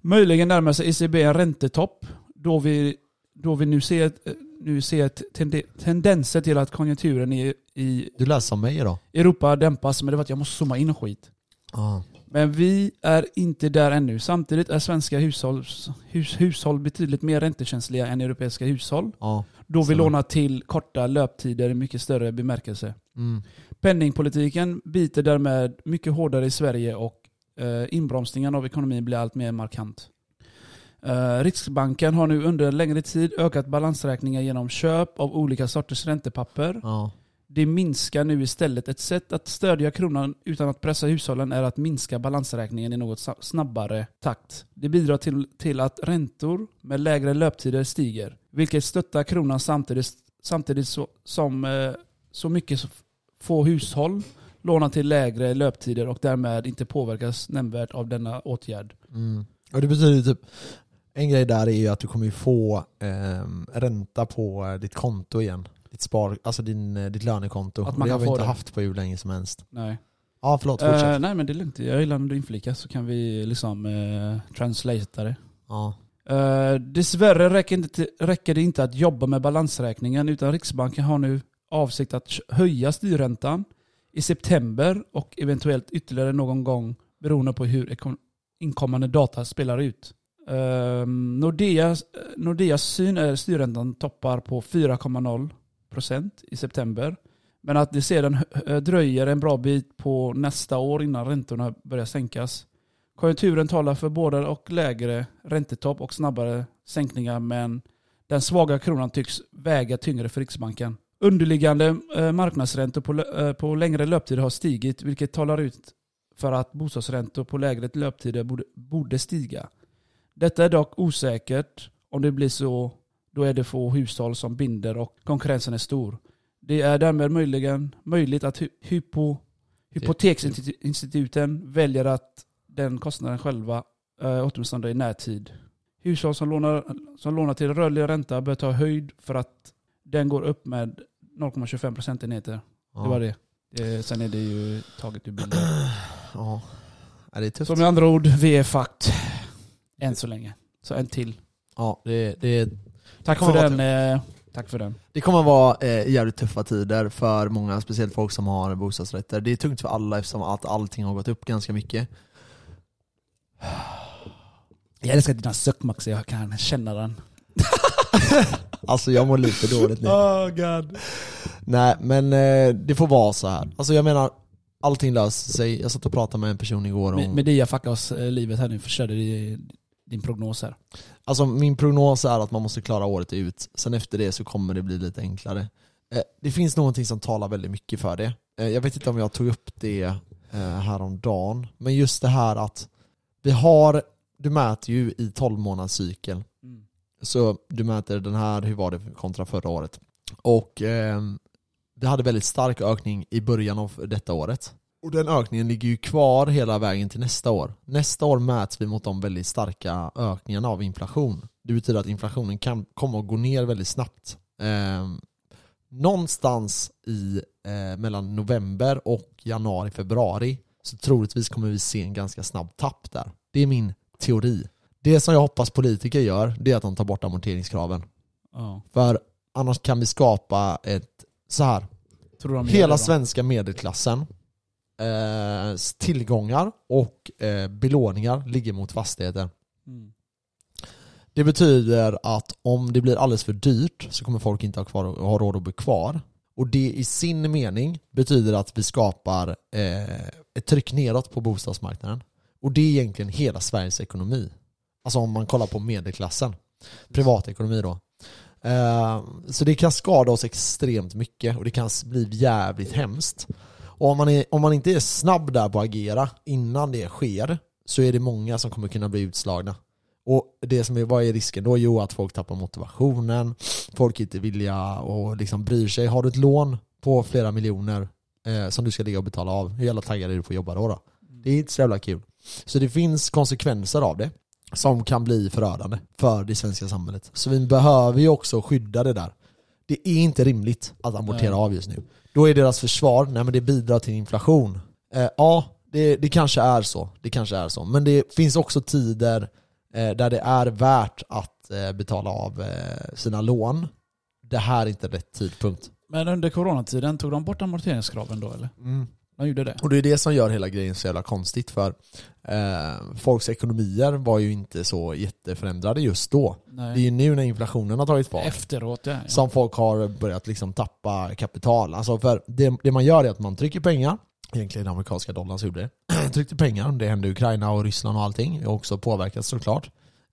Möjligen närmar sig ECB en räntetopp då vi, då vi nu ser, ett- nu ser ett tende, tendenser till att konjunkturen i, i
Du läser som mig idag.
Europa dämpas. Men det var att jag måste zooma in och skit.
Ah.
Men vi är inte där ännu. Samtidigt är svenska hushåll, hus, hushåll betydligt mer räntekänsliga än europeiska hushåll
Ja.
då vi
Stämmer.
lånar till korta löptider i mycket större bemärkelse.
Mm.
Penningpolitiken biter därmed mycket hårdare i Sverige och eh, inbromsningen av ekonomin blir allt mer markant. Eh, Riksbanken har nu under en längre tid ökat balansräkningen genom köp av olika sorters räntepapper.
Ja.
Det minskar nu istället. Ett sätt att stödja kronan utan att pressa hushållen är att minska balansräkningen i något sa- snabbare takt. Det bidrar till, till att räntor med lägre löptider stiger, vilket stöttar kronan samtidigt, samtidigt så, som eh, så mycket så f- få hushåll lånar till lägre löptider och därmed inte påverkas nämnvärt av denna åtgärd.
Mm. Och det betyder ju typ, en grej där är ju att du kommer ju få ehm, ränta på eh, ditt konto igen. Ditt spar, alltså din, eh, ditt lönekonto.
Att man
det
kan
har vi
få
inte
det.
haft på hur länge som helst.
Nej.
Ja, förlåt, fortsätt.
Eh, nej men det är lugnt. Jag gillar när du inflikar så kan vi liksom eh, translatea det.
Ja.
Eh, dessvärre räcker, inte, till- räcker det inte att jobba med balansräkningen utan Riksbanken har nu avsikt att höja styrräntan i september och eventuellt ytterligare någon gång beroende på hur ekon- inkommande data spelar ut. Eh, Nordeas, Nordeas syn är att styrräntan toppar på 4,0% i september. Men att det sedan eh, dröjer en bra bit på nästa år innan räntorna börjar sänkas. Konjunkturen talar för både och lägre räntetopp och snabbare sänkningar men Den svaga kronan tycks väga tyngre för Riksbanken. Underliggande eh, marknadsräntor på, lö- eh, på längre löptider har stigit, vilket talar ut för att bostadsräntor på lägre löptider borde, borde stiga. Detta är dock osäkert. Om det blir så, då är det få hushåll som binder och konkurrensen är stor. Det är därmed möjligen möjligt att hy- hypo, hypoteksinstituten väljer att den kostnaden själva, eh, åtminstone i närtid. Hushåll som lånar, som lånar till rörlig ränta bör ta höjd för att den går upp med 0,25 procentenheter.
Ja.
Det var det. Eh, sen är det ju taget ur bilden.
Ja. Ja, det är tufft.
Så med andra ord, vi är fucked. Än så länge. Så en till.
Ja, det, det,
Tack
kommer
för
vara
den. Eh, tack för den.
det kommer vara eh, jävligt tuffa tider för många, speciellt folk som har bostadsrätter. Det är tungt för alla eftersom att allting har gått upp ganska mycket.
Jag älskar dina suck Max, jag kan känna den.
Alltså jag mår lite dåligt nu.
Oh god.
Nej men eh, det får vara så här. Alltså jag menar, allting löser sig. Jag satt och pratade med en person igår om...
Med, med det jag fuckade oss eh, livet här nu, förstörde di- din prognos här.
Alltså min prognos är att man måste klara året ut. Sen efter det så kommer det bli lite enklare. Eh, det finns någonting som talar väldigt mycket för det. Eh, jag vet inte om jag tog upp det eh, häromdagen. Men just det här att vi har, du mäter ju i 12 månaders cykel.
Mm.
Så du mäter den här, hur var det kontra förra året? Och ehm, vi hade väldigt stark ökning i början av detta året. Och den ökningen ligger ju kvar hela vägen till nästa år. Nästa år mäts vi mot de väldigt starka ökningarna av inflation. Det betyder att inflationen kan komma att gå ner väldigt snabbt. Ehm, någonstans i, eh, mellan november och januari, februari så troligtvis kommer vi se en ganska snabb tapp där. Det är min teori. Det som jag hoppas politiker gör, det är att de tar bort amorteringskraven.
Ja.
För annars kan vi skapa ett, så här,
Tror de gör det
hela
då?
svenska medelklassen eh, tillgångar och eh, belåningar ligger mot fastigheter.
Mm.
Det betyder att om det blir alldeles för dyrt så kommer folk inte ha, kvar, ha råd att bo kvar. Och det i sin mening betyder att vi skapar eh, ett tryck nedåt på bostadsmarknaden. Och det är egentligen hela Sveriges ekonomi. Alltså om man kollar på medelklassen. Privatekonomi då. Eh, så det kan skada oss extremt mycket och det kan s- bli jävligt hemskt. Och om man, är, om man inte är snabb där på att agera innan det sker så är det många som kommer kunna bli utslagna. Och det som är, vad är risken då? Jo, att folk tappar motivationen, folk är inte villiga och liksom bryr sig. Har du ett lån på flera miljoner eh, som du ska ligga och betala av, hur jävla taggad är du på att jobba då? då? Det är inte så jävla kul. Så det finns konsekvenser av det som kan bli förödande för det svenska samhället. Så vi behöver ju också skydda det där. Det är inte rimligt att amortera
Nej.
av just nu. Då är deras försvar, nej men det bidrar till inflation. Eh, ja, det, det kanske är så. Det kanske är så. Men det finns också tider eh, där det är värt att eh, betala av eh, sina lån. Det här är inte rätt tidpunkt.
Men under coronatiden, tog de bort amorteringskraven då eller? De gjorde det?
Och det är det som gör hela grejen så jävla konstigt för eh, folks ekonomier var ju inte så jätteförändrade just då. Det är
Nej.
ju nu när inflationen har tagit fart
Efteråt ja. ja.
som folk har börjat liksom tappa kapital. Alltså för det, det man gör är att man trycker pengar, egentligen den amerikanska dollarn så gjorde det, tryckte pengar, det hände i Ukraina och Ryssland och allting, det har också påverkats såklart.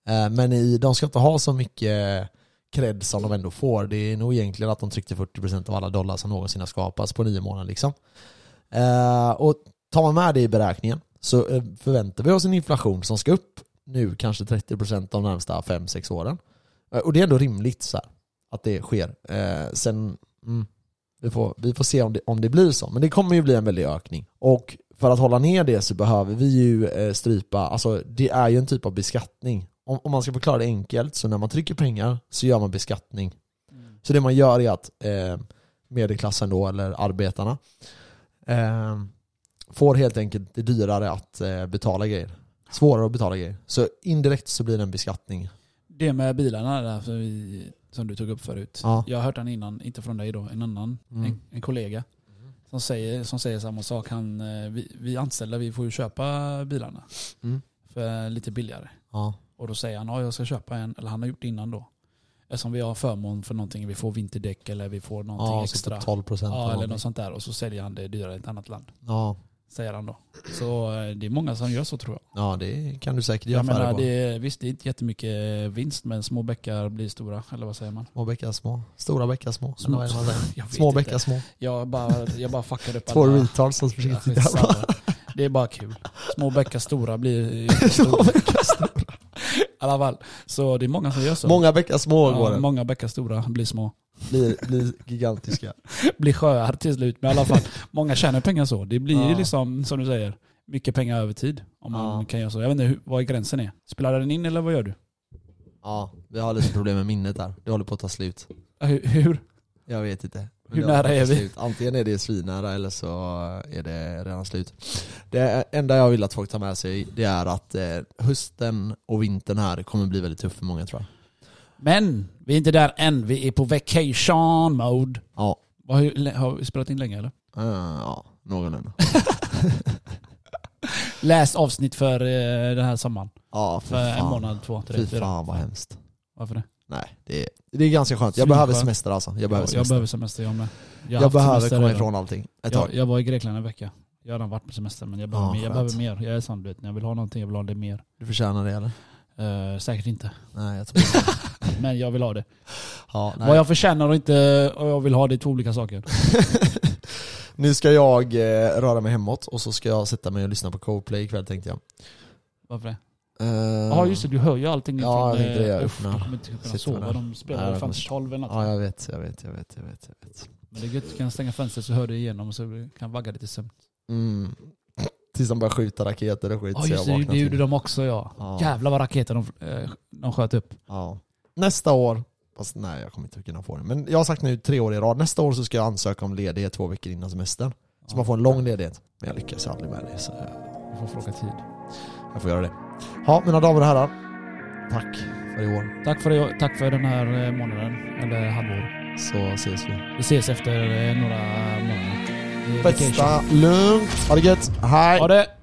Eh, Men i, de ska inte ha så mycket cred som de ändå får. Det är nog egentligen att de tryckte 40% av alla dollar som någonsin har skapats på nio månader liksom. Eh, Och tar man med det i beräkningen så eh, förväntar vi oss en inflation som ska upp nu kanske 30% de närmsta 5-6 åren. Eh, Och det är ändå rimligt så här att det sker. Eh, sen, mm, vi, får, vi får se om det, om det blir så. Men det kommer ju bli en väldig ökning. Och för att hålla ner det så behöver vi ju eh, strypa, alltså det är ju en typ av beskattning. Om, om man ska förklara det enkelt, så när man trycker pengar så gör man beskattning.
Mm.
Så det man gör är att eh, medelklassen då, eller arbetarna, eh, får helt enkelt det dyrare att eh, betala grejer. Svårare att betala grejer. Så indirekt så blir det en beskattning.
Det med bilarna där som, vi, som du tog upp förut.
Ja.
Jag har hört den innan, inte från dig då, en annan,
Mm.
en, en kollega. Som säger, som säger samma sak. Han, eh, vi, vi anställda vi får ju köpa bilarna
Mm.
för lite billigare.
Ja.
Och då säger han ja, jag ska köpa en, eller han har gjort det innan då. Eftersom vi har förmån för någonting, vi får vinterdäck eller vi får någonting
Ja, så
extra.
typ 12%
Ja, eller
någonting.
något sånt där. Och så säljer han det dyrare i ett annat land.
Ja.
Säger han då. Så eh, det är många som gör så tror jag.
Ja det kan du säkert göra
jag
affärer
menar,
på.
det är, visst det är inte jättemycket vinst men små bäckar blir stora. Eller vad säger man?
Små bäckar små. Stora bäckar små.
Små-
Som vad är det man säger.
Jag vet
Små
inte.
bäckar små.
Jag bara, jag bara fuckar upp
Två
alla.
retards som
Ja,
försöker titta på
skitsamma. Det är bara kul. Små bäckar stora blir stora. I alla fall. Så det är många som gör så.
Många bäckar små går
ja,
det.
många bäckar stora blir små.
Blir, blir gigantiska.
Blir sjöar till slut. Men i alla fall, många tjänar pengar så. Det blir ju
Ja.
liksom, som du säger, mycket pengar över tid. Om man
Ja.
kan göra så. Jag vet inte hur, vad gränsen är. Spelar den in eller vad gör du?
Ja, vi har lite problem med minnet där. Det håller på att ta slut.
Hur? hur?
Jag vet inte. Men
Hur
det har
nära är
redan
vi?
Slut. Antingen är det svinnära eller så är det redan slut. Det enda jag vill att folk tar med sig det är att eh, hösten och vintern här kommer bli väldigt tuff för många tror jag.
Men, vi är inte där än. Vi är på vacation mode.
Ja,
Vad Har, vi- har vi spelat in länge eller?
Eh, ja någorlunda.
Läst avsnitt för eh, den här sommaren.
Ja, för
För en
fan.
månad, två, tre,
Fy
fyra.
fan vad hemskt.
Varför det?
Nej, det är, det är ganska skönt. Jag
Svinskönt.
behöver semester alltså. Jag behöver
Jag, jag
semester.
behöver semester jag med. har
Jag,
haft
behöver
semester
komma
redan.
ifrån allting ett tag.
Jag, jag var i Grekland en vecka. Jag har redan varit på semester men jag behöver,
Ja,
mer, jag
skönt.
behöver mer. Jag är sån du vet, när jag vill ha någonting jag vill ha det mer.
Du förtjänar det eller?
Eh, säkert inte.
Nej, jag tror inte
Men jag vill ha det.
ja, nej.
Vad jag förtjänar och inte och jag vill ha det är två olika saker.
Nu ska jag eh, röra mig hemåt och så ska jag sätta mig och lyssna på Coldplay ikväll tänkte jag.
Varför det?
Eh,
Ja just det, du hör ju allting.
Ja, jag
ifrån,
tänkte
eh,
det, jag
uff,
öppnar.
Du kommer inte kunna
Sitter
sova.
där.
De
Nej,
spelar
jag
fram
måste-
till tolv eller något.
Ja jag vet, jag vet, jag vet, jag vet, jag vet.
Men det är gött, du kan stänga fönstret så hör du igenom och så kan vagga lite sömn.
Mm. Tills de börjar skjuta raketer och skit
Ja
så
just
jag
det, det
vaknar
gjorde
till.
de också ja.
Ja.
Jävlar vad raketer de, eh, de sköt upp.
Ja. Nästa år, fast nej jag kommer inte kunna få det. Men jag har sagt nu tre år i rad, nästa år så ska jag ansöka om ledighet två veckor innan semestern. Så man får en lång ledighet. Men jag lyckas aldrig med det så
Du får fråga tid.
jag får göra det. Ja mina damer och herrar, tack för i år.
Tack för, i- tack för den här eh, månaden, eller halvår.
Så ses vi.
Vi ses efter eh, några månader. Det är vacation.
Bästa lugnt, ha det gött, hej!
Ha det!